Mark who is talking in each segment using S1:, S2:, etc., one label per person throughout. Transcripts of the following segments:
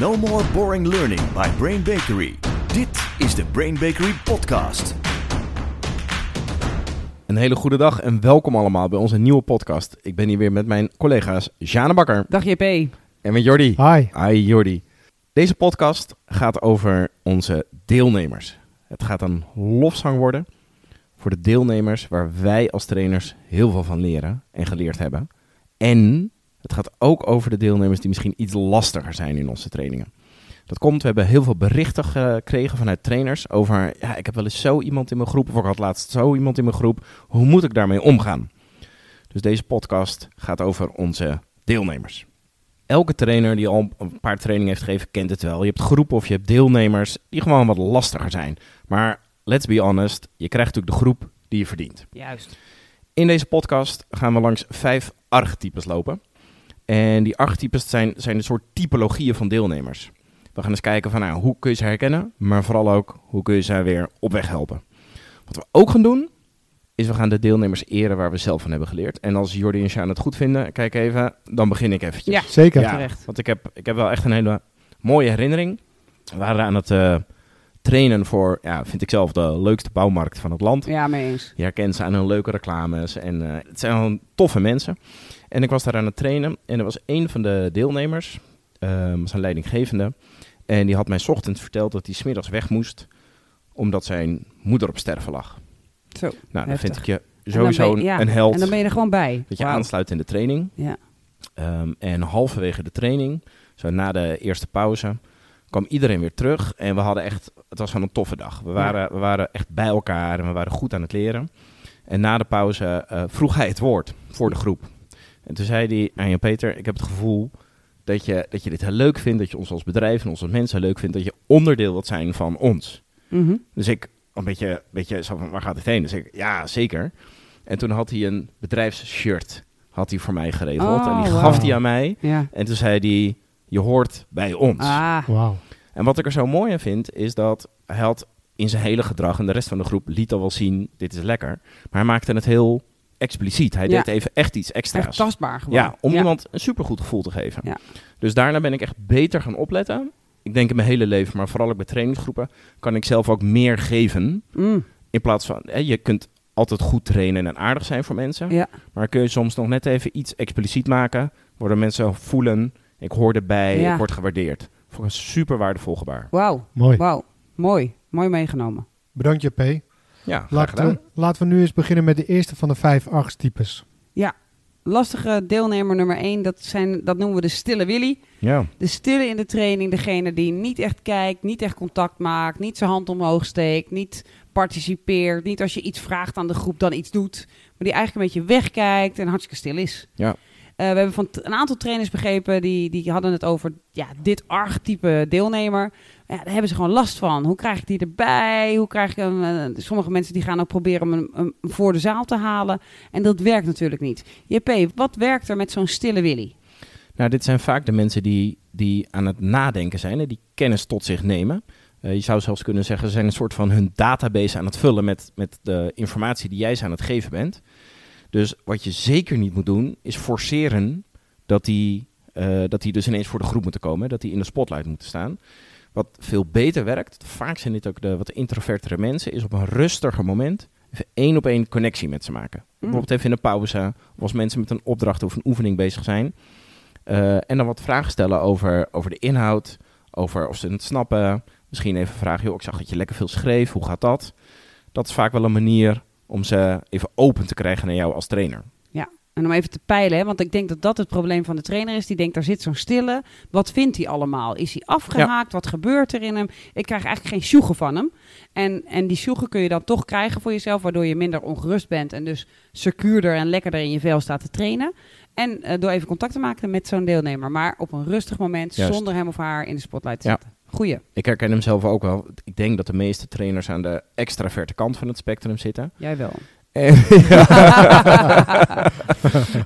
S1: No more boring learning by Brain Bakery. Dit is de Brain Bakery podcast.
S2: Een hele goede dag en welkom allemaal bij onze nieuwe podcast. Ik ben hier weer met mijn collega's Jane Bakker
S3: Dag JP.
S2: en met Jordi.
S4: Hi.
S2: Hi Jordi. Deze podcast gaat over onze deelnemers. Het gaat een lofzang worden voor de deelnemers waar wij als trainers heel veel van leren en geleerd hebben. En het gaat ook over de deelnemers die misschien iets lastiger zijn in onze trainingen. Dat komt, we hebben heel veel berichten gekregen vanuit trainers over, ja, ik heb wel eens zo iemand in mijn groep, of ik had laatst zo iemand in mijn groep, hoe moet ik daarmee omgaan? Dus deze podcast gaat over onze deelnemers elke trainer die al een paar trainingen heeft gegeven, kent het wel. Je hebt groepen of je hebt deelnemers die gewoon wat lastiger zijn. Maar let's be honest, je krijgt natuurlijk de groep die je verdient.
S3: Juist.
S2: In deze podcast gaan we langs vijf archetypes lopen. En die archetypes zijn, zijn een soort typologieën van deelnemers. We gaan eens kijken van nou, hoe kun je ze herkennen, maar vooral ook hoe kun je ze weer op weg helpen. Wat we ook gaan doen, is we gaan de deelnemers eren waar we zelf van hebben geleerd. En als Jordi en Sjaan het goed vinden, kijk even, dan begin ik eventjes.
S3: Ja.
S4: Zeker.
S2: Ja,
S3: terecht.
S2: Want ik heb, ik heb wel echt een hele mooie herinnering. We waren aan het eh, trainen voor, ja, vind ik zelf, de leukste bouwmarkt van het land.
S3: Ja, mee eens.
S2: Je herkent ze aan hun leuke reclames en eh, het zijn gewoon toffe mensen. En ik was daar aan het trainen en er was een van de deelnemers, ehm was een leidinggevende. En die had mij 's ochtends verteld dat hij smiddags weg moest, omdat zijn moeder op sterven lag.
S3: Zo.
S2: Nou, dan
S3: Heftig.
S2: vind ik je
S3: En dan
S2: sowieso
S3: ben je- ja,
S2: een held.
S3: En dan ben je er gewoon bij.
S2: Dat je
S3: Wauw.
S2: aansluit in de training.
S3: Ja.
S2: Ehm, en halverwege de training, zo na de eerste pauze, kwam iedereen weer terug. En we hadden echt, het was gewoon een toffe dag. We waren, we waren echt bij elkaar en we waren goed aan het leren. En na de pauze eh, vroeg hij het woord voor de groep. En toen zei hij aan je Peter, ik heb het gevoel dat je, dat je dit heel leuk vindt, dat je ons als bedrijf en ons als mensen leuk vindt, dat je onderdeel wilt zijn van ons.
S3: Mhm.
S2: Dus ik een beetje, een beetje zo van, waar gaat het heen? Dus ik, ja, zeker. En toen had hij een bedrijfsshirt had hij voor mij geregeld.
S3: Oh,
S2: en die
S3: wauw.
S2: gaf hij aan mij.
S3: Ja.
S2: En toen zei hij, je hoort bij ons.
S3: Ah,
S4: Wauw.
S2: En wat ik er zo mooi aan vind, is dat hij had in zijn hele gedrag... en de rest van de groep liet al wel zien, dit is lekker. Maar hij maakte het heel expliciet. Hij
S3: Ja.
S2: deed even echt iets extra's.
S3: echt tastbaar gewoon.
S2: Ja, om iemand een supergoed gevoel te geven.
S3: Ja.
S2: Dus daarna ben ik echt beter gaan opletten. Ik denk in mijn hele leven, maar vooral ook bij trainingsgroepen... kan ik zelf ook meer geven...
S3: Mm.
S2: In plaats van, hè, je kunt altijd goed trainen en aardig zijn voor mensen.
S3: Ja.
S2: Maar kun je soms nog net even iets expliciet maken. Waardoor mensen voelen, ik hoor erbij,
S3: Ja.
S2: ik word gewaardeerd. Vond ik een super waardevol gebaar.
S3: Wauw.
S4: Mooi.
S3: Wauw. Mooi. Mooi meegenomen.
S4: Bedankt JP.
S2: Ja, graag
S4: Laten
S2: gedaan.
S4: we, laten we nu eens beginnen met de eerste van de vijf archetypes.
S3: Lastige deelnemer nummer één, dat, zijn, dat noemen we de stille Willy.
S2: Ja.
S3: De stille in de training, degene die niet echt kijkt, niet echt contact maakt, niet zijn hand omhoog steekt, niet participeert, niet als je iets vraagt aan de groep dan iets doet, maar die eigenlijk een beetje wegkijkt en hartstikke stil is.
S2: Ja.
S3: Eh, we hebben van t- een aantal trainers begrepen, die, die hadden het over ja, dit archetype deelnemer. Ja, daar hebben ze gewoon last van. Hoe krijg ik die erbij? Hoe krijg ik hem? eh, sommige mensen die gaan ook proberen om hem, hem voor de zaal te halen. En dat werkt natuurlijk niet. JP, wat werkt er met zo'n stille Willy?
S2: Nou, dit zijn vaak de mensen die, die aan het nadenken zijn. Hè, die kennis tot zich nemen. Eh, je zou zelfs kunnen zeggen, ze zijn een soort van hun database aan het vullen met, met de informatie die jij ze aan het geven bent. Dus wat je zeker niet moet doen, is forceren dat die, eh, dat die dus ineens voor de groep moeten komen. hè, Dat die in de spotlight moeten staan. Wat veel beter werkt, vaak zijn dit ook de wat introvertere mensen, is op een rustiger moment even één op één connectie met ze maken. Bijvoorbeeld even in een pauze, of als mensen met een opdracht of een oefening bezig zijn. Eh, en dan wat vragen stellen over, over de inhoud, over of ze het snappen. Misschien even vragen, joh, ik zag dat je lekker veel schreef, hoe gaat dat? Dat is vaak wel een manier om ze even open te krijgen naar jou als trainer.
S3: En om even te peilen, hè, want ik denk dat dat het probleem van de trainer is. Die denkt, daar zit zo'n stille. Wat vindt hij allemaal? Is hij afgehaakt? Wat gebeurt er in hem? Ik krijg eigenlijk geen sjoegen van hem. En, en die sjoegen kun je dan toch krijgen voor jezelf, waardoor je minder ongerust bent. En dus secuurder en lekkerder in je vel staat te trainen. En eh, door even contact te maken met zo'n deelnemer. Maar op een rustig moment,
S2: Juist.
S3: zonder hem of haar in de spotlight te
S2: Ja.
S3: zetten. Goeie.
S2: Ik herken hem zelf ook wel. Ik denk dat de meeste trainers aan de extraverte kant van het spectrum zitten.
S3: Jij wel.
S2: En,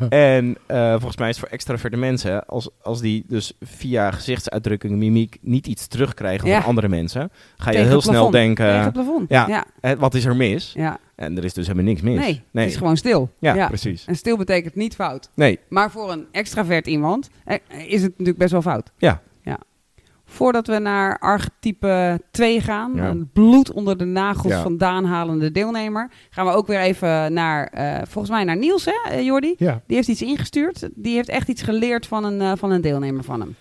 S2: en eh, volgens mij is het voor extraverte mensen, als, als die dus via gezichtsuitdrukking, mimiek, niet iets terugkrijgen
S3: Ja.
S2: van andere mensen, ga je
S3: Tegen
S2: heel
S3: het
S2: snel
S3: plafond.
S2: denken, eh,
S3: Tegen het plafond.
S2: ja.
S3: ja.
S2: hè, wat is er mis?
S3: ja.
S2: En er is dus helemaal niks mis.
S3: Nee, het is gewoon stil.
S2: Ja, precies.
S3: En stil betekent niet fout.
S2: Nee,
S3: Maar voor een extravert iemand eh, is het natuurlijk best wel fout.
S2: ja.
S3: Voordat we naar archetype 2 gaan,
S2: Ja.
S3: een bloed onder de nagels
S2: Ja.
S3: vandaan halende deelnemer, gaan we ook weer even naar, eh, volgens mij naar Niels, hè, eh, Jordi?
S4: Ja,
S3: Die heeft iets ingestuurd. Die heeft echt iets geleerd van een, eh, van een deelnemer van hem.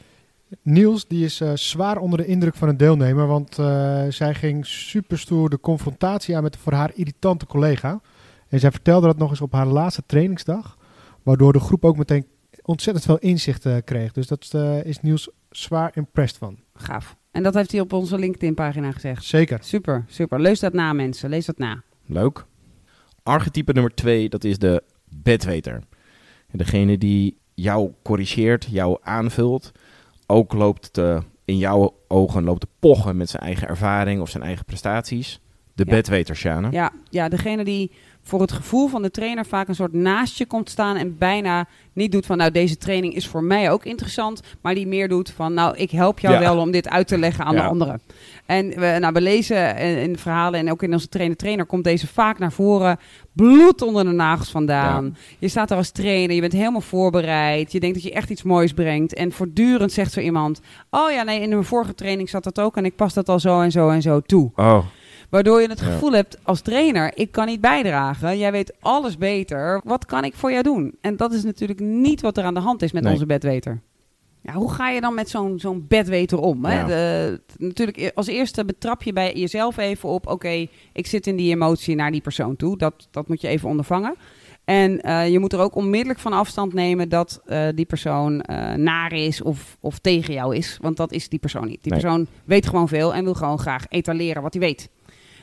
S4: Niels die is eh, zwaar onder de indruk van een deelnemer, want eh, zij ging superstoer de confrontatie aan met de voor haar irritante collega. En zij vertelde dat nog eens op haar laatste trainingsdag, waardoor de groep ook meteen ontzettend veel inzichten kreeg. Dus dat eh, is Niels zwaar impressed van.
S3: Gaaf. En dat heeft hij op onze LinkedIn-pagina gezegd.
S4: Zeker.
S3: Super, super. Lees dat na, mensen. Lees dat na.
S2: Leuk. Archetype nummer twee, dat is de bedweter. Degene die jou corrigeert, jou aanvult. Ook loopt te- in jouw ogen loopt te pochen met zijn eigen ervaring of zijn eigen prestaties. De
S3: Ja.
S2: bedweter, Sjane.
S3: Ja, ja, degene die voor het gevoel van de trainer vaak een soort naast je komt staan en bijna niet doet van nou deze training is voor mij ook interessant, maar die meer doet van nou ik help jou
S2: Ja.
S3: wel om dit uit te leggen aan de
S2: Ja.
S3: anderen. En we, nou, we lezen in, in de verhalen en ook in onze trainer trainer komt deze vaak naar voren, bloed onder de nagels vandaan. Je staat daar als trainer, je bent helemaal voorbereid, je denkt dat je echt iets moois brengt en voortdurend zegt zo iemand, oh ja nee in mijn vorige training zat dat ook en ik pas dat al zo en zo en zo toe.
S2: Oh,
S3: Waardoor je het
S2: Ja.
S3: gevoel hebt als trainer, ik kan niet bijdragen. Jij weet alles beter. Wat kan ik voor jou doen? En dat is natuurlijk niet wat er aan de hand is met
S2: Nee.
S3: onze bedweter. Ja, hoe ga je dan met zo'n zo'n bedweter om? Hè?
S2: Ja.
S3: De- t- natuurlijk, e- als eerste betrap je bij jezelf even op... oké, ik zit in die emotie naar die persoon toe. Dat, dat moet je even ondervangen. En eh, je moet er ook onmiddellijk van afstand nemen dat eh, die persoon eh, naar is of, of tegen jou is. Want dat is die persoon niet. Die
S2: Nee.
S3: persoon weet gewoon veel en wil gewoon graag etaleren wat hij weet.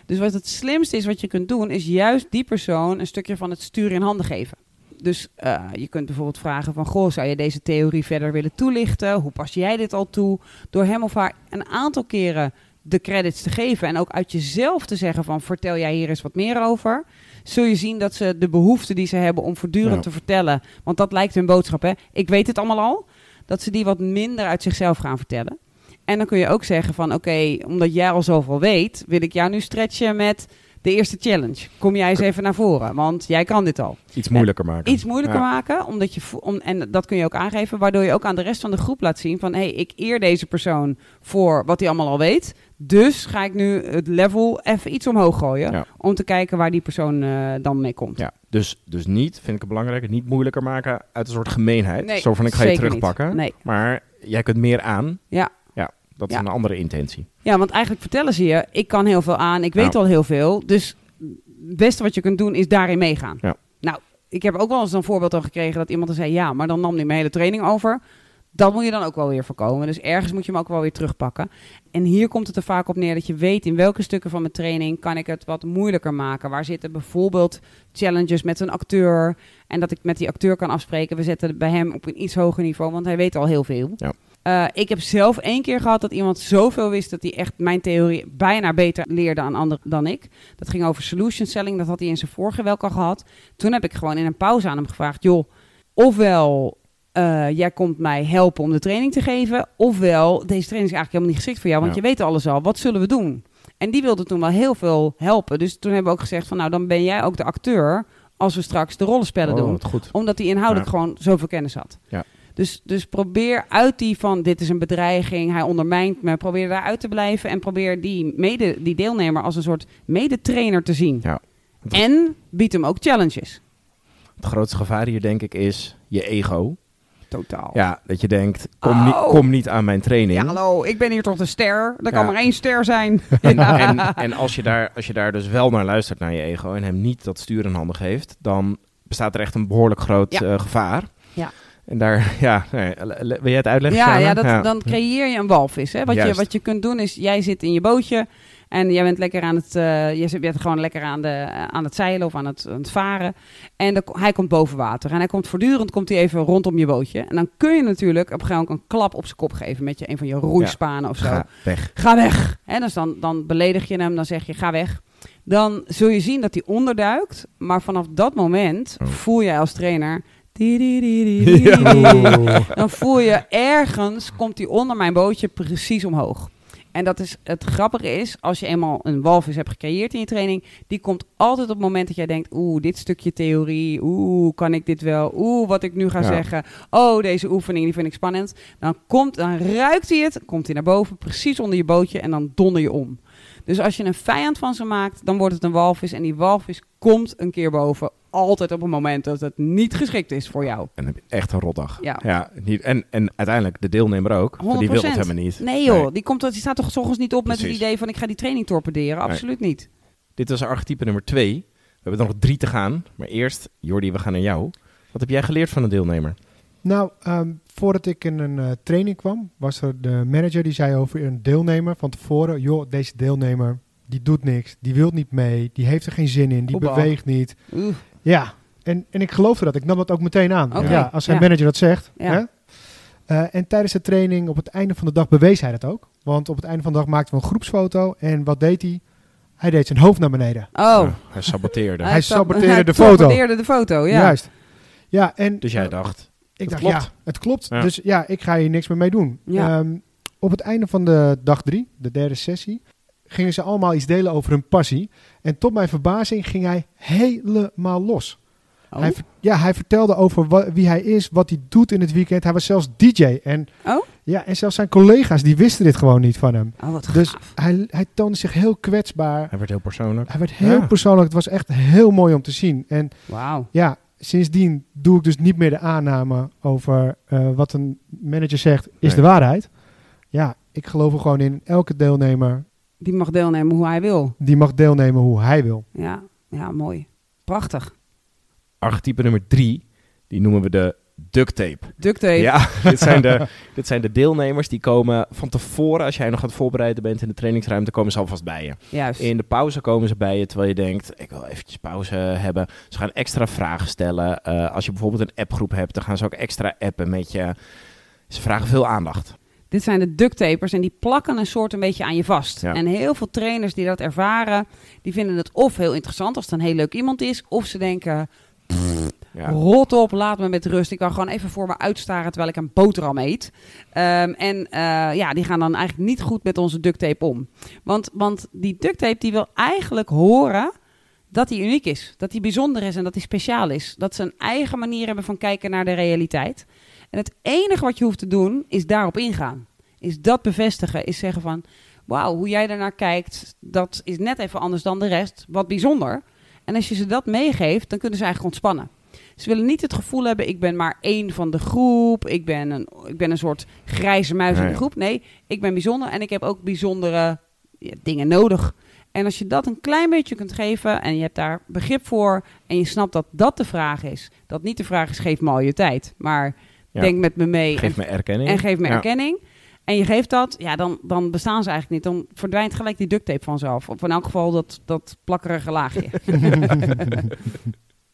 S3: Dus wat het slimste is wat je kunt doen, is juist die persoon een stukje van het stuur in handen geven. Dus eh, je kunt bijvoorbeeld vragen van, goh, zou je deze theorie verder willen toelichten? Hoe pas jij dit al toe? Door hem of haar een aantal keren de credits te geven en ook uit jezelf te zeggen van, vertel jij hier eens wat meer over? Zul je zien dat ze de behoefte die ze hebben om voortdurend
S2: Ja.
S3: te vertellen, want dat lijkt hun boodschap, hè? Ik weet het allemaal al. Dat ze die wat minder uit zichzelf gaan vertellen. En dan kun je ook zeggen van, oké, omdat jij al zoveel weet, wil ik jou nu stretchen met de eerste challenge. Kom jij eens even naar voren, want jij kan dit al
S2: iets moeilijker maken.
S3: iets moeilijker
S2: Ja.
S3: maken. Omdat je vo- om, en dat kun je ook aangeven. Waardoor je ook aan de rest van de groep laat zien van... hé, hey, ik eer deze persoon voor wat hij allemaal al weet. Dus ga ik nu het level even iets omhoog gooien.
S2: Ja.
S3: Om te kijken waar die persoon eh, dan mee komt.
S2: Ja, dus, dus niet, vind ik het belangrijk, niet moeilijker maken uit een soort gemeenheid.
S3: Nee,
S2: Zo van, ik ga je
S3: zeker niet.
S2: terugpakken.
S3: Nee.
S2: Maar jij kunt meer aan.
S3: Ja.
S2: Ja, dat is
S3: Ja.
S2: een andere intentie.
S3: Ja, want eigenlijk vertellen ze je... ik kan heel veel aan, ik weet
S2: Ja.
S3: al heel veel. Dus het beste wat je kunt doen is daarin meegaan.
S2: Ja.
S3: Nou, ik heb ook wel eens een voorbeeld al gekregen... dat iemand dan zei, ja, maar dan nam hij mijn hele training over... Dat moet je dan ook wel weer voorkomen. Dus ergens moet je hem ook wel weer terugpakken. En hier komt het er vaak op neer dat je weet in welke stukken van mijn training kan ik het wat moeilijker maken. Waar zitten bijvoorbeeld challenges met een acteur. En dat ik met die acteur kan afspreken. We zetten het bij hem op een iets hoger niveau, want hij weet al heel veel.
S2: Ja.
S3: Eh, ik heb zelf één keer gehad dat iemand zoveel wist dat hij echt mijn theorie bijna beter leerde aan anderen dan ik. Dat ging over solution selling. Dat had hij in zijn vorige wel al gehad. Toen heb ik gewoon in een pauze aan hem gevraagd: joh, ofwel eh, jij komt mij helpen om de training te geven. Ofwel, deze training is eigenlijk helemaal niet geschikt voor jou, want
S2: Ja.
S3: je weet alles al. Wat zullen we doen? En die wilde toen wel heel veel helpen. Dus toen hebben we ook gezegd van nou, dan ben jij ook de acteur als we straks de rollenspellen
S2: Oh,
S3: doen.
S2: wat goed.
S3: Omdat hij
S2: Ja.
S3: inhoudelijk gewoon zoveel kennis had.
S2: Ja.
S3: Dus, dus probeer uit die van dit is een bedreiging, hij ondermijnt me. Probeer daaruit te blijven en probeer die, mede, die deelnemer als een soort medetrainer te zien.
S2: Ja. Dat-
S3: En bied hem ook challenges.
S2: Het grootste gevaar hier, denk ik, is je ego.
S3: Totaal.
S2: Ja, dat je denkt, kom,
S3: Oh.
S2: niet, kom niet aan mijn training.
S3: Ja, hallo, ik ben hier toch de ster? Er kan
S2: Ja.
S3: maar één ster zijn.
S2: En, en, en als, je daar, als je daar dus wel naar luistert, naar je ego, en hem niet dat stuur in handen geeft, dan bestaat er echt een behoorlijk groot
S3: Ja.
S2: eh, gevaar.
S3: Ja.
S2: En daar, ja, nee, le- le- wil jij het uitleggen?
S3: Ja,
S2: Sjane?
S3: ja, dat, dan creëer je een walvis. Hè? Wat, je,
S2: Juist.
S3: wat je kunt doen is, jij zit in je bootje en jij bent lekker aan het, eh, jij zit- je bent gewoon lekker aan, de, aan het zeilen of aan het, aan het varen. En dan- hij komt boven water en hij komt voortdurend komt hij even rondom je bootje. En dan kun je natuurlijk op een gegeven moment een klap op zijn kop geven met je, een van je roeispanen of zo.
S2: Ga weg.
S3: ga weg. Hè, dus dan, dan beledig je hem, dan zeg je ga weg. Dan zul je zien dat hij onderduikt. Maar vanaf dat moment
S2: Oh.
S3: voel jij als trainer... die, die, die, die, die, die. Dan voel je ergens komt hij onder mijn bootje precies omhoog. En dat is het grappige is, als je eenmaal een walvis hebt gecreëerd in je training, die komt altijd op het moment dat jij denkt, oeh, dit stukje theorie, oeh, kan ik dit wel, oeh, wat ik nu ga
S2: Ja.
S3: zeggen, oh, deze oefening, die vind ik spannend. Dan komt, dan ruikt hij het, komt hij naar boven, precies onder je bootje en dan donder je om. Dus als je een vijand van ze maakt, dan wordt het een walvis en die walvis komt een keer boven, altijd op een moment dat het niet geschikt is voor jou.
S2: En dan heb je echt een rotdag.
S3: Ja.
S2: niet, en, en uiteindelijk de deelnemer ook. want Die wil het
S3: 100%.
S2: helemaal niet.
S3: Nee joh,
S2: Nee.
S3: die, komt, die staat toch s'ochtends niet op met
S2: Precies.
S3: het idee van ik ga die training torpederen,
S2: Nee.
S3: absoluut niet.
S2: Dit was archetype nummer twee. We hebben er nog drie te gaan. Maar eerst, Jordi, we gaan naar jou. Wat heb jij geleerd van een deelnemer?
S4: Nou, ehm, voordat ik in een eh, training kwam, was er de manager die zei over een deelnemer van tevoren: joh, deze deelnemer die doet niks, die wil niet mee, die heeft er geen zin in, die
S3: Oeba.
S4: beweegt niet.
S3: Oeh.
S4: Ja, en, en ik geloofde dat. Ik nam dat ook meteen aan.
S3: Oké,
S4: Ja, als zijn
S3: ja.
S4: manager dat zegt.
S3: Ja.
S4: Hè? Eh, en tijdens de training, op het einde van de dag, bewees hij dat ook. Want op het einde van de dag maakten we een groepsfoto. En wat deed hij? Hij deed zijn hoofd naar beneden.
S3: Oh.
S2: Ja, Nou, hij saboteerde.
S4: Hij
S3: sab-
S4: saboteerde
S3: hij
S4: de foto.
S3: saboteerde de foto, Oh ja.
S4: Juist. Ja, en
S2: Dus jij dacht,
S4: ik
S2: Het
S4: dacht,
S2: klopt.
S4: ja, het klopt.
S2: Ja.
S4: Dus ja, ik ga hier niks meer mee doen.
S3: Ja.
S4: Ehm, op het einde van de dag drie, de derde sessie, gingen ze allemaal iets delen over hun passie. En tot mijn verbazing ging hij helemaal los.
S3: Oh.
S4: Hij, ver- ja, hij vertelde over wa- wie hij is, wat hij doet in het weekend. Hij was zelfs DJ. En,
S3: Oh?
S4: ja, en zelfs zijn collega's die wisten dit gewoon niet van hem.
S3: Oh, wat
S4: Dus
S3: gaaf.
S4: hij, hij toonde zich heel kwetsbaar.
S2: hij werd heel persoonlijk.
S4: Hij werd heel
S2: Ja.
S4: persoonlijk. Het was echt heel mooi om te zien. En
S3: Wauw.
S4: ja, sindsdien doe ik dus niet meer de aanname over eh, wat een manager zegt is
S2: Nee.
S4: de waarheid. Ja, ik geloof er gewoon in. Elke deelnemer
S3: Die mag deelnemen hoe hij wil.
S4: die mag deelnemen hoe hij wil.
S3: Ja, ja mooi. Prachtig.
S2: Archetype nummer drie, die noemen we de duct tape.
S3: Duct tape.
S2: Ja, dit zijn, de, dit zijn de deelnemers die komen van tevoren, als jij nog aan het voorbereiden bent in de trainingsruimte, komen ze alvast bij je.
S3: Juist.
S2: In de pauze komen ze bij je, terwijl je denkt, ik wil eventjes pauze hebben. Ze gaan extra vragen stellen. Eh, als je bijvoorbeeld een appgroep hebt, dan gaan ze ook extra appen met je. Ze vragen veel aandacht.
S3: Dit zijn de duct tapers en die plakken een soort een beetje aan je vast.
S2: Ja.
S3: En heel veel trainers die dat ervaren, die vinden het of heel interessant als het een heel leuk iemand is. Of ze denken,
S2: Ja.
S3: rot op, laat me met rust. Ik kan gewoon even voor me uitstaren terwijl ik een boterham eet. Ehm, en eh, ja, die gaan dan eigenlijk niet goed met onze duct tape om. Want, want die duct tape die wil eigenlijk horen dat hij uniek is. Dat hij bijzonder is en dat hij speciaal is. Dat ze een eigen manier hebben van kijken naar de realiteit. En het enige wat je hoeft te doen is daarop ingaan. Is dat bevestigen. Is zeggen van, wauw, hoe jij daarnaar kijkt, dat is net even anders dan de rest. Wat bijzonder. En als je ze dat meegeeft, dan kunnen ze eigenlijk ontspannen. Ze willen niet het gevoel hebben, ik ben maar één van de groep. Ik ben een, ik ben een soort grijze muis in
S2: Nee.
S3: de groep. Nee, ik ben bijzonder en ik heb ook bijzondere ja, dingen nodig. En als je dat een klein beetje kunt geven en je hebt daar begrip voor... en je snapt dat dat de vraag is. Dat niet de vraag is, geef me al je tijd. Maar
S2: Ja.
S3: denk met me mee en
S2: Geef me erkenning.
S3: en geef me
S2: Ja.
S3: erkenning. En je geeft dat, ja, dan, dan bestaan ze eigenlijk niet. Dan verdwijnt gelijk die duct tape vanzelf. Of in elk geval dat, dat plakkerige laagje.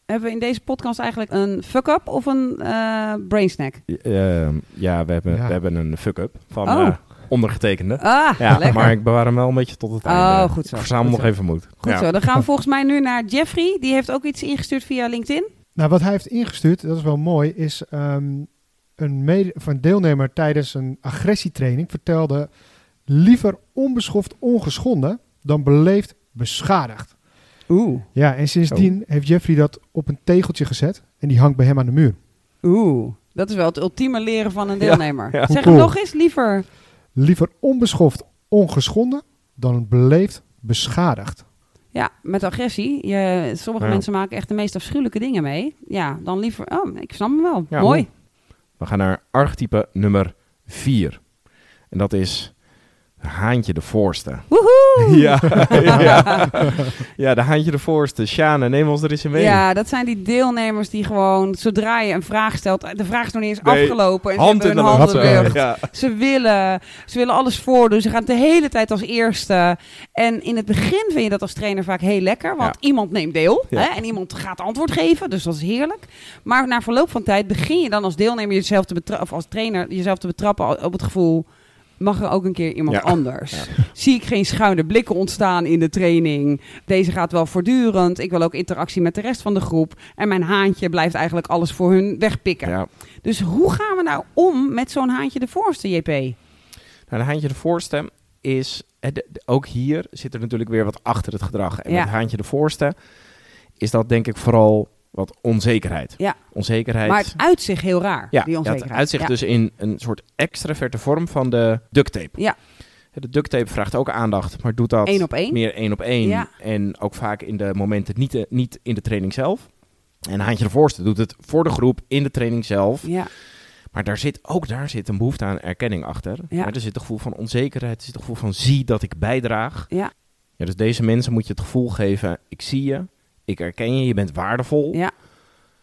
S3: Hebben we in deze podcast eigenlijk een fuck-up of een eh brainsnack?
S2: Ehm, ja, we hebben,
S4: Ja.
S2: we hebben een fuck-up van
S3: Oh.
S2: eh, ondergetekende.
S3: Ah,
S2: ja,
S3: lekker.
S2: maar ik bewaar hem wel een beetje tot het
S3: Oh,
S2: einde.
S3: goed zo,
S2: Ik verzamel
S3: goed
S2: nog even moed.
S3: Goed
S2: Ja.
S3: zo, dan gaan we volgens mij nu naar Jeffrey. Die heeft ook iets ingestuurd via LinkedIn.
S4: Nou, wat hij heeft ingestuurd, dat is wel mooi, is ehm, een, mede, of een deelnemer tijdens een agressietraining vertelde liever onbeschoft ongeschonden dan beleefd beschadigd.
S3: Oeh.
S4: Ja, en sindsdien heeft Jeffrey dat op een tegeltje gezet en die hangt bij hem aan de muur.
S3: Oeh. Dat is wel het ultieme leren van een
S2: Ja,
S3: deelnemer.
S2: ja.
S3: Zeg
S4: Cool.
S3: het nog eens, liever.
S4: Liever onbeschoft ongeschonden dan beleefd beschadigd.
S3: Ja, met agressie. Je, sommige
S2: Ja.
S3: mensen maken echt de meest afschuwelijke dingen mee. Ja, dan liever... Oh, ik snap hem wel.
S2: Ja,
S3: Mooi.
S2: We gaan naar archetype nummer 4. En dat is Haantje de Voorste.
S3: Woehoe!
S2: Ja, ja. ja, de Haantje de Voorste. Sjane, neem ons er eens in mee.
S3: Ja, dat zijn die deelnemers die gewoon, zodra je een vraag stelt, de vraag is nog niet eens
S2: Nee,
S3: afgelopen. En ze
S2: Hand eh,
S3: hebben
S2: in de
S3: hun
S2: lucht.
S3: handen in de
S4: Handen.
S3: lucht.
S2: Ja.
S3: Ze willen, ze willen alles voordoen. Ze gaan de hele tijd als eerste. En in het begin vind je dat als trainer vaak heel lekker. Want iemand neemt deel.
S2: Ja.
S3: Hè, en iemand gaat antwoord geven. Dus dat is heerlijk. Maar na verloop van tijd begin je dan als deelnemer jezelf te betrappen. Of als trainer jezelf te betrappen al- op het gevoel. Mag er ook een keer iemand
S2: Ja.
S3: anders? Zie ik geen schuine blikken ontstaan in de training? Deze gaat wel voortdurend. Ik wil ook interactie met de rest van de groep. En mijn haantje blijft eigenlijk alles voor hun wegpikken.
S2: Ja.
S3: Dus hoe gaan we nou om met zo'n haantje de voorste, JP?
S2: Nou, de Haantje de Voorste is, eh, de- de- ook hier zit er natuurlijk weer wat achter het gedrag. En
S3: Ja.
S2: met Haantje de Voorste is dat denk ik vooral wat onzekerheid.
S3: Ja.
S2: Onzekerheid.
S3: Maar het uitzicht heel raar,
S2: ja,
S3: die
S2: ja,
S3: onzekerheid.
S2: het uitzicht
S3: Ja.
S2: dus in een soort extraverte vorm van de duct tape.
S3: Ja.
S2: De duct tape vraagt ook aandacht, maar doet dat
S3: Eén op één.
S2: meer één op één.
S3: Ja.
S2: En ook vaak in de momenten niet, eh, niet in de training zelf. En Haantje de Voorste doet het voor de groep, in de training zelf.
S3: Ja,
S2: Maar daar zit, ook daar zit een behoefte aan erkenning achter.
S3: Ja.
S2: Maar er zit een gevoel van onzekerheid, er zit een gevoel van zie dat ik bijdraag.
S3: ja,
S2: Ja, dus deze mensen moet je het gevoel geven, ik zie je, ik herken je, je bent waardevol.
S3: ja.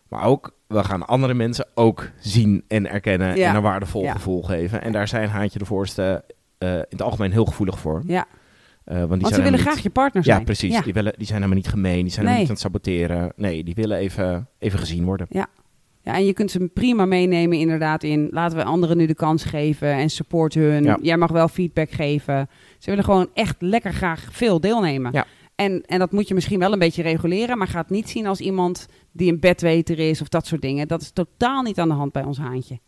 S2: Maar ook, we gaan andere mensen ook zien en erkennen
S3: Ja.
S2: en een waardevol
S3: Ja.
S2: gevoel geven. En daar zijn Haantje de Voorste eh, in het algemeen heel gevoelig voor.
S3: ja.
S2: Eh, want die
S3: Want ze
S2: zijn
S3: willen
S2: helemaal
S3: graag
S2: niet-
S3: je partner zijn.
S2: Ja, precies.
S3: Ja.
S2: Die, willen, die zijn helemaal niet gemeen, die zijn
S3: Nee.
S2: helemaal niet aan het saboteren. Nee, die willen even, even gezien worden.
S3: Ja, en je kunt ze prima meenemen inderdaad in... laten we anderen nu de kans geven en support hun.
S2: Ja.
S3: Jij mag wel feedback geven. Ze willen gewoon echt lekker graag veel deelnemen.
S2: Ja.
S3: En, en dat moet je misschien wel een beetje reguleren... maar ga het niet zien als iemand die een bedweter is of dat soort dingen. Dat is totaal niet aan de hand bij ons haantje.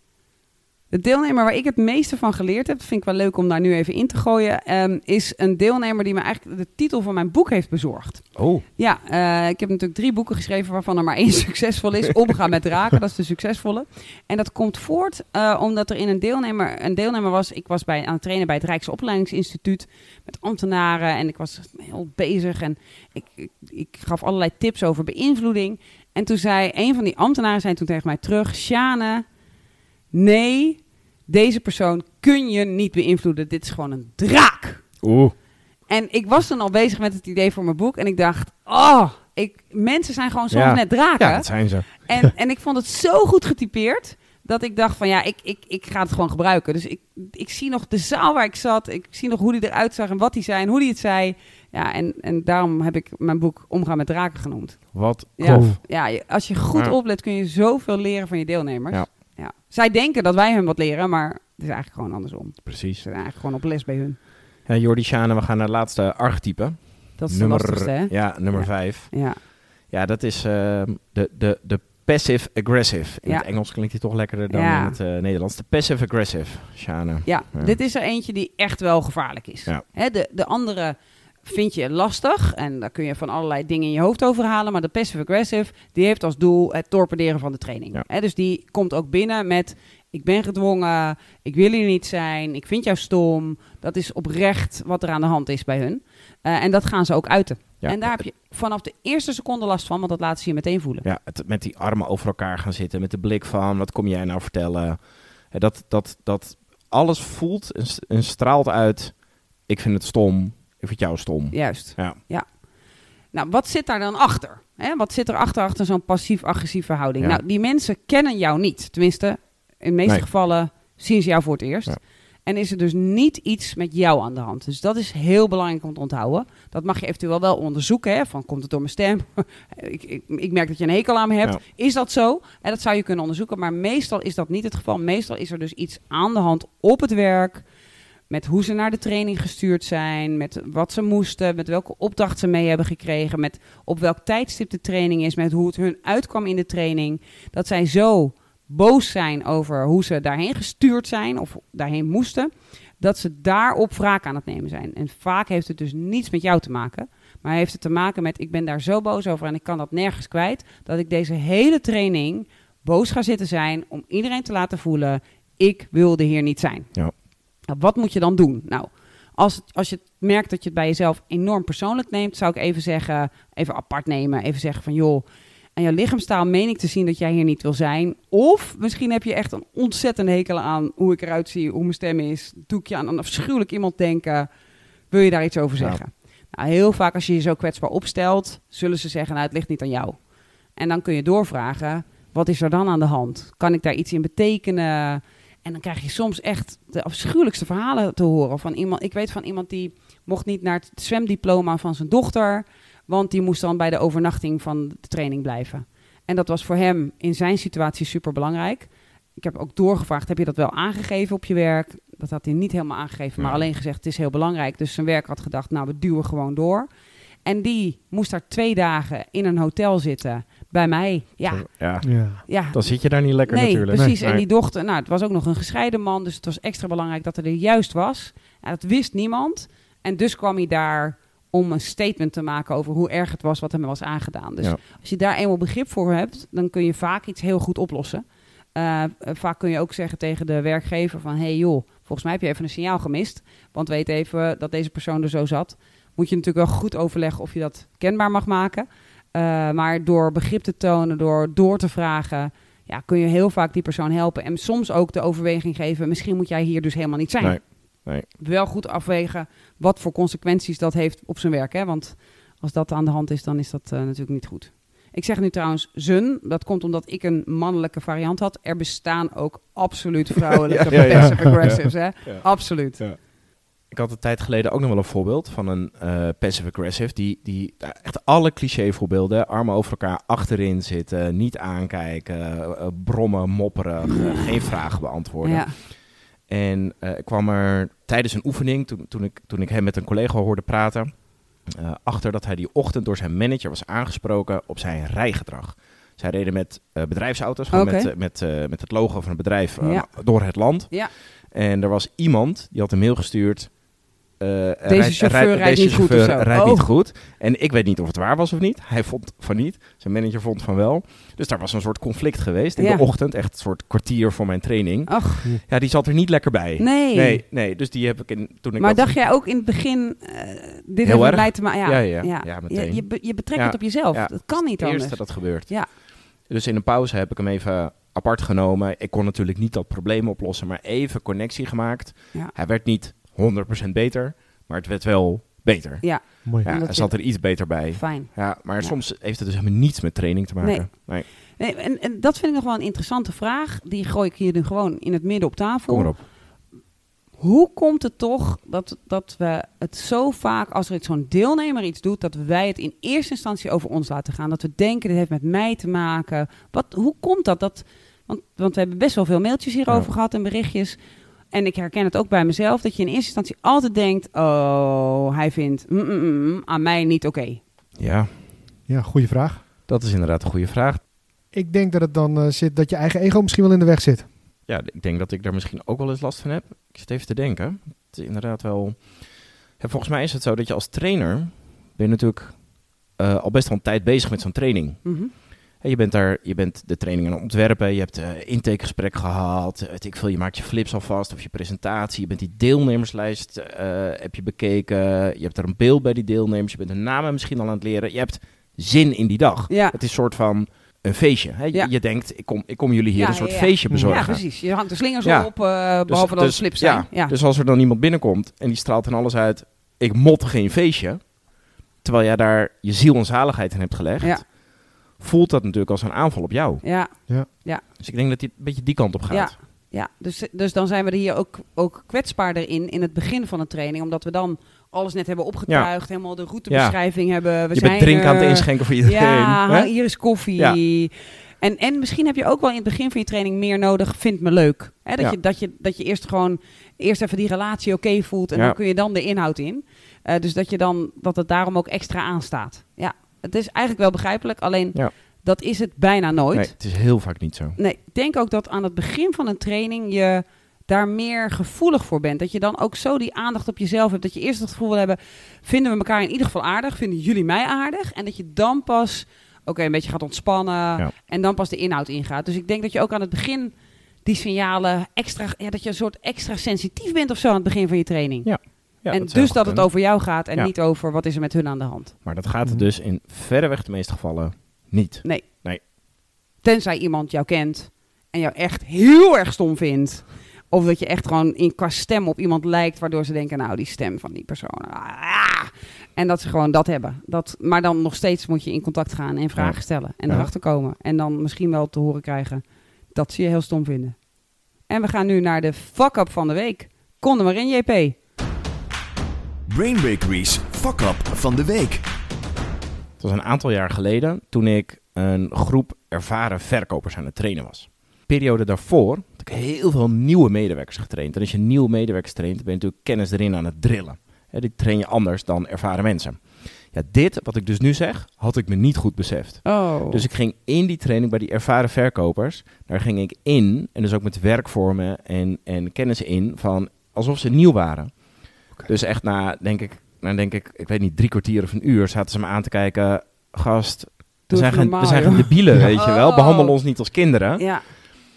S3: De deelnemer waar ik het meeste van geleerd heb... vind ik wel leuk om daar nu even in te gooien... ehm, is een deelnemer die me eigenlijk de titel van mijn boek heeft bezorgd.
S2: Oh,
S3: Ja, eh, ik heb natuurlijk drie boeken geschreven waarvan er maar één succesvol is. Omgaan met raken, dat is de succesvolle. En dat komt voort eh, omdat er in een deelnemer, een deelnemer was. Ik was bij, aan het trainen bij het Rijksopleidingsinstituut met ambtenaren. En ik was heel bezig en ik, ik, ik gaf allerlei tips over beïnvloeding. En toen zei een van die ambtenaren zei toen tegen mij terug... Sjane, nee, deze persoon kun je niet beïnvloeden. Dit is gewoon een draak.
S2: oeh.
S3: En ik was toen al bezig met het idee voor mijn boek. En ik dacht, oh, ik, mensen zijn gewoon soms
S2: Ja.
S3: net draken.
S2: Ja, dat zijn ze.
S3: En, en ik vond het zo goed getypeerd. Dat ik dacht van ja, ik, ik, ik ga het gewoon gebruiken. Dus ik, ik zie nog de zaal waar ik zat. Ik zie nog hoe die eruit zag en wat die zei en hoe die het zei. Ja, en, en daarom heb ik mijn boek Omgaan met Draken genoemd.
S2: Wat
S3: Ja,
S2: cool.
S3: ja, je- als je goed
S2: Ja.
S3: oplet kun je zoveel leren van je deelnemers.
S2: Ja.
S3: Ja. Zij denken dat wij hun wat leren, maar het is eigenlijk gewoon andersom. Ze
S2: Precies.
S3: zijn eigenlijk gewoon op les bij hun.
S2: Ja, Jordi Sjane, we gaan naar het laatste archetype.
S3: Dat is
S2: nummer,
S3: het lastigste, hè?
S2: Ja, nummer
S3: Ja.
S2: vijf.
S3: ja.
S2: Ja, dat is ehm, de, de, de passive aggressive. In
S3: Ja.
S2: het Engels klinkt die toch lekkerder dan
S3: Ja.
S2: in het eh, Nederlands. De passive aggressive, Sjane.
S3: Ja,
S2: Ja.
S3: dit is er eentje die echt wel gevaarlijk is.
S2: Ja.
S3: Hè, de, de andere vind je lastig en daar kun je van allerlei dingen in je hoofd over halen. Maar de passive aggressive, die heeft als doel het torpederen van de training.
S2: Ja.
S3: Hè, dus die komt ook binnen met, ik ben gedwongen, ik wil hier niet zijn, ik vind jou stom. Dat is oprecht wat er aan de hand is bij hun. Eh, en dat gaan ze ook uiten.
S2: Ja.
S3: En daar heb je vanaf de eerste seconde last van, want dat laten ze je meteen voelen.
S2: Ja, het, met die armen over elkaar gaan zitten. Met de blik van, wat kom jij nou vertellen? Eh, Dat, dat, dat alles voelt en, s- en straalt uit. Ik vind het stom. Ik vind jou stom.
S3: Juist.
S2: Ja.
S3: Nou, wat zit daar dan achter? Hè, wat zit er achter, achter zo'n passief-agressieve verhouding?
S2: Ja.
S3: Nou, die mensen kennen jou niet. Tenminste, in de meeste
S2: Nee.
S3: gevallen zien ze jou voor het eerst.
S2: Ja.
S3: En is er dus niet iets met jou aan de hand. Dus dat is heel belangrijk om te onthouden. Dat mag je eventueel wel onderzoeken. Hè? Van, komt het door mijn stem? ik, ik, ik merk dat je een hekel aan me hebt. Is dat zo? En dat zou je kunnen onderzoeken. Maar meestal is dat niet het geval. Meestal is er dus iets aan de hand op het werk. Met hoe ze naar de training gestuurd zijn. Met wat ze moesten. Met welke opdracht ze mee hebben gekregen. Met op welk tijdstip de training is. Met hoe het hun uitkwam in de training. Dat zij zo boos zijn over hoe ze daarheen gestuurd zijn. Of daarheen moesten. Dat ze daarop wraak aan het nemen zijn. En vaak heeft het dus niets met jou te maken. Maar heeft het te maken met: ik ben daar zo boos over en ik kan dat nergens kwijt. Dat ik deze hele training boos ga zitten zijn om iedereen te laten voelen: ik wilde hier niet zijn.
S2: Ja.
S3: Nou, Wat moet je dan doen? Nou, als, het- als je merkt dat je het bij jezelf enorm persoonlijk neemt, zou ik even zeggen: even apart nemen. Even zeggen van joh. En jouw lichaamstaal meen ik te zien dat jij hier niet wil zijn. Of misschien heb je echt een ontzettende hekel aan hoe ik eruit zie, hoe mijn stem is. Doe ik je aan een afschuwelijk iemand denken? Wil je daar iets over
S2: Ja.
S3: zeggen? Nou, heel vaak als je je zo kwetsbaar opstelt, zullen ze zeggen, nou het ligt niet aan jou. En dan kun je doorvragen, wat is er dan aan de hand? Kan ik daar iets in betekenen? En dan krijg je soms echt de afschuwelijkste verhalen te horen. Van iemand, ik weet van iemand die mocht niet naar het zwemdiploma van zijn dochter, want die moest dan bij de overnachting van de training blijven. En dat was voor hem in zijn situatie super belangrijk. Ik heb ook doorgevraagd, heb je dat wel aangegeven op je werk? Dat had hij niet helemaal aangegeven, maar
S2: Ja.
S3: alleen gezegd, het is heel belangrijk. Dus zijn werk had gedacht, nou, we duwen gewoon door. En die moest daar twee dagen in een hotel zitten bij mij. Ja,
S2: Zo, ja.
S4: Ja.
S3: ja.
S2: Dan zit je daar niet lekker
S3: nee,
S2: natuurlijk.
S3: precies.
S2: Nee.
S3: En die dochter, nou, het was ook nog een gescheiden man, dus het was extra belangrijk dat hij er juist was. Nou, dat wist niemand. En dus kwam hij daar om een statement te maken over hoe erg het was wat hem was aangedaan. Dus
S2: Ja.
S3: als je daar eenmaal begrip voor hebt, dan kun je vaak iets heel goed oplossen. Eh, vaak kun je ook zeggen tegen de werkgever van... hé hey joh, volgens mij heb je even een signaal gemist. Want weet even dat deze persoon er zo zat. Moet je natuurlijk wel goed overleggen of je dat kenbaar mag maken. Eh, maar door begrip te tonen, door door te vragen... Ja, kun je heel vaak die persoon helpen. En soms ook de overweging geven... misschien moet jij hier dus helemaal niet zijn.
S2: Nee, nee.
S3: Wel goed afwegen wat voor consequenties dat heeft op zijn werk. Hè? Want als dat aan de hand is, dan is dat eh, natuurlijk niet goed. Ik zeg nu trouwens zun. Dat komt omdat ik een mannelijke variant had. Er bestaan ook absoluut vrouwelijke
S2: Ja, ja, ja.
S3: passive aggressives. Hè?
S2: Ja.
S3: Absoluut.
S2: Ja. Ik had een tijd geleden ook nog wel een voorbeeld van een eh, passive aggressive. Die, die eh, echt alle cliché voorbeelden, armen over elkaar achterin zitten, niet aankijken, eh, brommen, mopperen, geen vragen beantwoorden.
S3: Ja.
S2: En eh, ik kwam er tijdens een oefening, toen, toen, ik, toen ik hem met een collega hoorde praten, eh, achter dat hij die ochtend door zijn manager was aangesproken op zijn rijgedrag. Zij reden met eh, bedrijfsauto's, gewoon
S3: Oké.
S2: met, eh, met, eh, met het logo van het bedrijf eh,
S3: Ja.
S2: door het land.
S3: Ja.
S2: En er was iemand die had een mail gestuurd. eh, er
S3: Deze
S2: rijdt- er
S3: chauffeur
S2: rijdt-
S3: rijdt
S2: deze
S3: niet goed of
S2: chauffeur
S3: zo.
S2: rijdt niet
S3: Oh.
S2: goed. En ik weet niet of het waar was of niet. Hij vond van niet. Zijn manager vond van wel. Dus daar was een soort conflict geweest in
S3: Ja.
S2: de ochtend. Echt een soort kwartier voor mijn training.
S3: Ach,
S2: Ja, die zat er niet lekker bij.
S3: nee.
S2: Nee, nee, dus die heb ik in, toen ik
S3: Maar
S2: dat...
S3: dacht jij ook in het begin, eh, dit
S2: Heel
S3: heeft met
S2: erg.
S3: mij te maken? Ja,
S2: Ja, ja. Ja, meteen.
S3: Je, je, be- je betrekt
S2: Ja.
S3: het op jezelf.
S2: Ja.
S3: Dat kan niet
S2: het
S3: anders.
S2: eerste dat gebeurt.
S3: Ja.
S2: Dus in een pauze heb ik hem even apart genomen. Ik kon natuurlijk niet dat probleem oplossen, maar even connectie gemaakt.
S3: Ja.
S2: Hij werd niet 100% beter, maar het werd wel beter.
S3: Ja.
S4: Mooi.
S2: Ja,
S3: Omdat
S2: hij zat er iets beter bij.
S3: Fijn.
S2: Ja, maar
S3: Ja.
S2: soms heeft het dus helemaal niets met training te maken. Nee,
S3: Nee, en, en dat vind ik nog wel een interessante vraag. Die gooi ik hier nu gewoon in het midden op tafel.
S2: kom maar op.
S3: Hoe komt het toch dat, dat we het zo vaak, als er iets- zo'n deelnemer iets doet, dat wij het in eerste instantie over ons laten gaan? Dat we denken, dit heeft met mij te maken. Wat, hoe komt dat? dat want, want we hebben best wel veel mailtjes hierover
S2: Ja.
S3: gehad en berichtjes. En ik herken het ook bij mezelf, dat je in eerste instantie altijd denkt, oh, hij vindt mm, mm, mm, aan mij niet oké.
S2: Ja,
S4: Ja, goede vraag.
S2: dat is inderdaad een goede vraag.
S4: Ik denk dat het dan eh, zit dat je eigen ego misschien wel in de weg zit.
S2: Ja, ik denk dat ik daar misschien ook wel eens last van heb. Ik zit even te denken. Het is inderdaad wel... Ja, volgens mij is het zo dat je als trainer... ben je natuurlijk eh, al best wel een tijd bezig met zo'n training.
S3: Mhm.
S2: Hè, je, bent daar, je bent de training aan het ontwerpen. Je hebt eh intakegesprek gehad. eh, weet ik veel, je maakt je flips alvast of je presentatie. Je bent die deelnemerslijst eh, heb je bekeken. Je hebt er een beeld bij die deelnemers. Je bent hun namen misschien al aan het leren. Je hebt zin in die dag.
S3: Ja.
S2: Het is een soort van... Een feestje. Hè? Je,
S3: Ja.
S2: je denkt, ik kom, ik kom jullie hier
S3: Ja,
S2: een soort
S3: ja, ja.
S2: feestje bezorgen.
S3: Ja, precies. Je hangt de slingers
S2: Ja. Dus
S3: op, eh, behalve dat het slips zijn.
S2: Ja, Dus als er dan iemand binnenkomt en die straalt dan alles uit... ik mot geen feestje, terwijl jij daar je ziel en zaligheid in hebt gelegd...
S3: Ja.
S2: voelt dat natuurlijk als een aanval op jou.
S3: ja.
S2: Dus ik denk dat die een beetje die kant op gaat.
S3: Ja, dus, dus dan zijn we er hier ook, ook kwetsbaarder in, in het begin van een training. Omdat we dan alles net hebben opgetuigd, helemaal de routebeschrijving hebben. We
S2: je
S3: zijn
S2: bent drinken aan het
S3: er. eh,
S2: inschenken voor iedereen.
S3: Ja,
S2: hè?
S3: hang- hier is koffie. En, en misschien heb je ook wel in het begin van je training meer nodig, vind me leuk. Hè, dat,
S2: Ja.
S3: je, dat, je, dat je eerst gewoon eerst even die relatie oké voelt en
S2: Ja.
S3: dan kun je dan de inhoud in. Eh, dus dat, je dan, dat het daarom ook extra aanstaat. Ja, het is eigenlijk wel begrijpelijk, alleen
S2: Ja.
S3: dat is het bijna nooit.
S2: Nee, het is heel vaak niet zo.
S3: Nee, ik denk ook dat aan het begin van een training je daar meer gevoelig voor bent. Dat je dan ook zo die aandacht op jezelf hebt. Dat je eerst het gevoel wil hebben, vinden we elkaar in ieder geval aardig? Vinden jullie mij aardig? En dat je dan pas, oké, een beetje gaat ontspannen. En dan pas de inhoud ingaat. Dus ik denk dat je ook aan het begin die signalen extra... Ja, dat je een soort extra sensitief bent of zo aan het begin van je training.
S2: Ja, Ja, dat
S3: en
S2: zou
S3: dus
S2: goed
S3: dat het
S2: kunnen.
S3: over jou gaat en
S2: Ja.
S3: niet over wat is er met hun aan de hand.
S2: Maar dat gaat het
S4: Mhm.
S2: dus in verreweg de meeste gevallen niet.
S3: Nee.
S2: Nee.
S3: Tenzij iemand jou kent en jou echt heel erg stom vindt. Of dat je echt gewoon in qua stem op iemand lijkt, waardoor ze denken, nou, die stem van die persoon. ah. en dat ze gewoon dat hebben. Dat, maar dan nog steeds moet je in contact gaan en vragen
S2: Ja.
S3: stellen en
S2: Ja.
S3: erachter komen. En dan misschien wel te horen krijgen dat ze je heel stom vinden. En we gaan nu naar de fuck-up van de week. Kon er maar in, JP.
S1: Brain Bakery's Fuck Up van de Week.
S2: Het was een aantal jaar geleden toen ik een groep ervaren verkopers aan het trainen was. Periode daarvoor had ik heel veel nieuwe medewerkers getraind. En als je nieuwe medewerkers traint, dan ben je natuurlijk kennis erin aan het drillen. Hè, die train je anders dan ervaren mensen. Ja, dit, wat ik dus nu zeg, had ik me niet goed beseft.
S3: Oh.
S2: Dus ik ging in die training bij die ervaren verkopers, daar ging ik in en dus ook met werkvormen en, en kennis in van alsof ze nieuw waren. Dus echt na, denk ik, na denk ik, ik weet niet, drie kwartier of een uur zaten ze me aan te kijken. Gast, we
S3: Doe
S2: zijn,
S3: even
S2: geen, we
S3: normaal,
S2: zijn
S3: joh."
S2: geen debielen, weet je wel.
S3: Oh.
S2: Behandel ons niet als kinderen.
S3: Ja,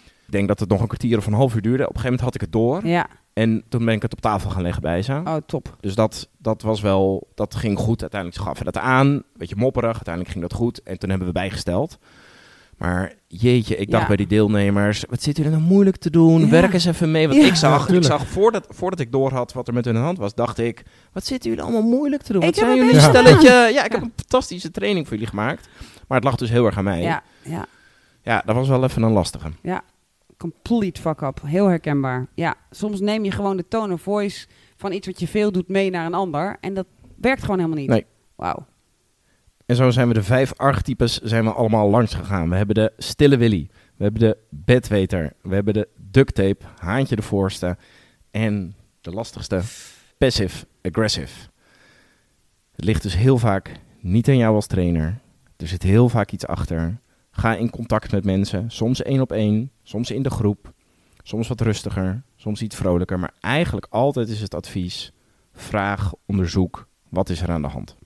S2: Ik denk dat het nog een kwartier of een half uur duurde. Op een gegeven moment had ik het door.
S3: ja.
S2: En toen ben ik het op tafel gaan leggen bij ze.
S3: Oh, top.
S2: Dus dat, dat was wel, dat ging goed. Uiteindelijk ze gaven dat aan. Een beetje mopperig. Uiteindelijk ging dat goed. En toen hebben we bijgesteld. Maar jeetje, ik dacht
S3: Ja.
S2: bij die deelnemers, wat zit jullie nou moeilijk te doen?
S3: Ja.
S2: Werk eens even mee. Want
S3: Ja.
S2: ik zag,
S4: Ja,
S2: ik
S4: tuurlijk.
S2: zag voordat, voordat ik doorhad wat er met hun aan de hand was, dacht ik, wat zitten jullie allemaal moeilijk te doen?
S3: Ik
S2: Wat
S3: heb
S2: zijn
S3: het
S2: jullie een
S4: best
S2: stelletje? Ja, ik heb een fantastische training voor jullie gemaakt. Maar het lag dus heel erg aan mij. Ja,
S3: Ja, ja.
S2: dat was wel even een lastige.
S3: Complete fuck-up. Heel herkenbaar. Ja, soms neem je gewoon de tone of voice van iets wat je veel doet mee naar een ander. En dat werkt gewoon helemaal niet.
S2: Nee.
S3: Wauw.
S2: En zo zijn we de vijf archetypes zijn we allemaal langs gegaan. We hebben de stille Willy, we hebben de bedweter, we hebben de duct tape, haantje de voorste en de lastigste, passive aggressive. Het ligt dus heel vaak niet aan jou als trainer. Er zit heel vaak iets achter. Ga in contact met mensen, soms één op één, soms in de groep, soms wat rustiger, soms iets vrolijker, maar eigenlijk altijd is het advies: vraag, onderzoek, wat is er aan de hand?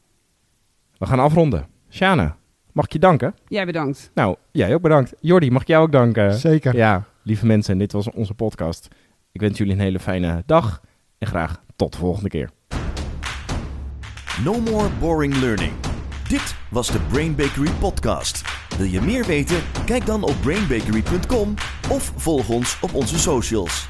S2: We gaan afronden. Shana, mag ik je danken?
S3: Jij bedankt.
S2: Nou, jij ook bedankt. Jordi, mag ik jou ook danken?
S4: Zeker.
S2: Ja, lieve mensen, dit was onze podcast. Ik wens jullie een hele fijne dag en graag tot de volgende keer.
S1: No more boring learning. Dit was de Brain Bakery podcast. Wil je meer weten? Kijk dan op brainbakery.com of volg ons op onze socials.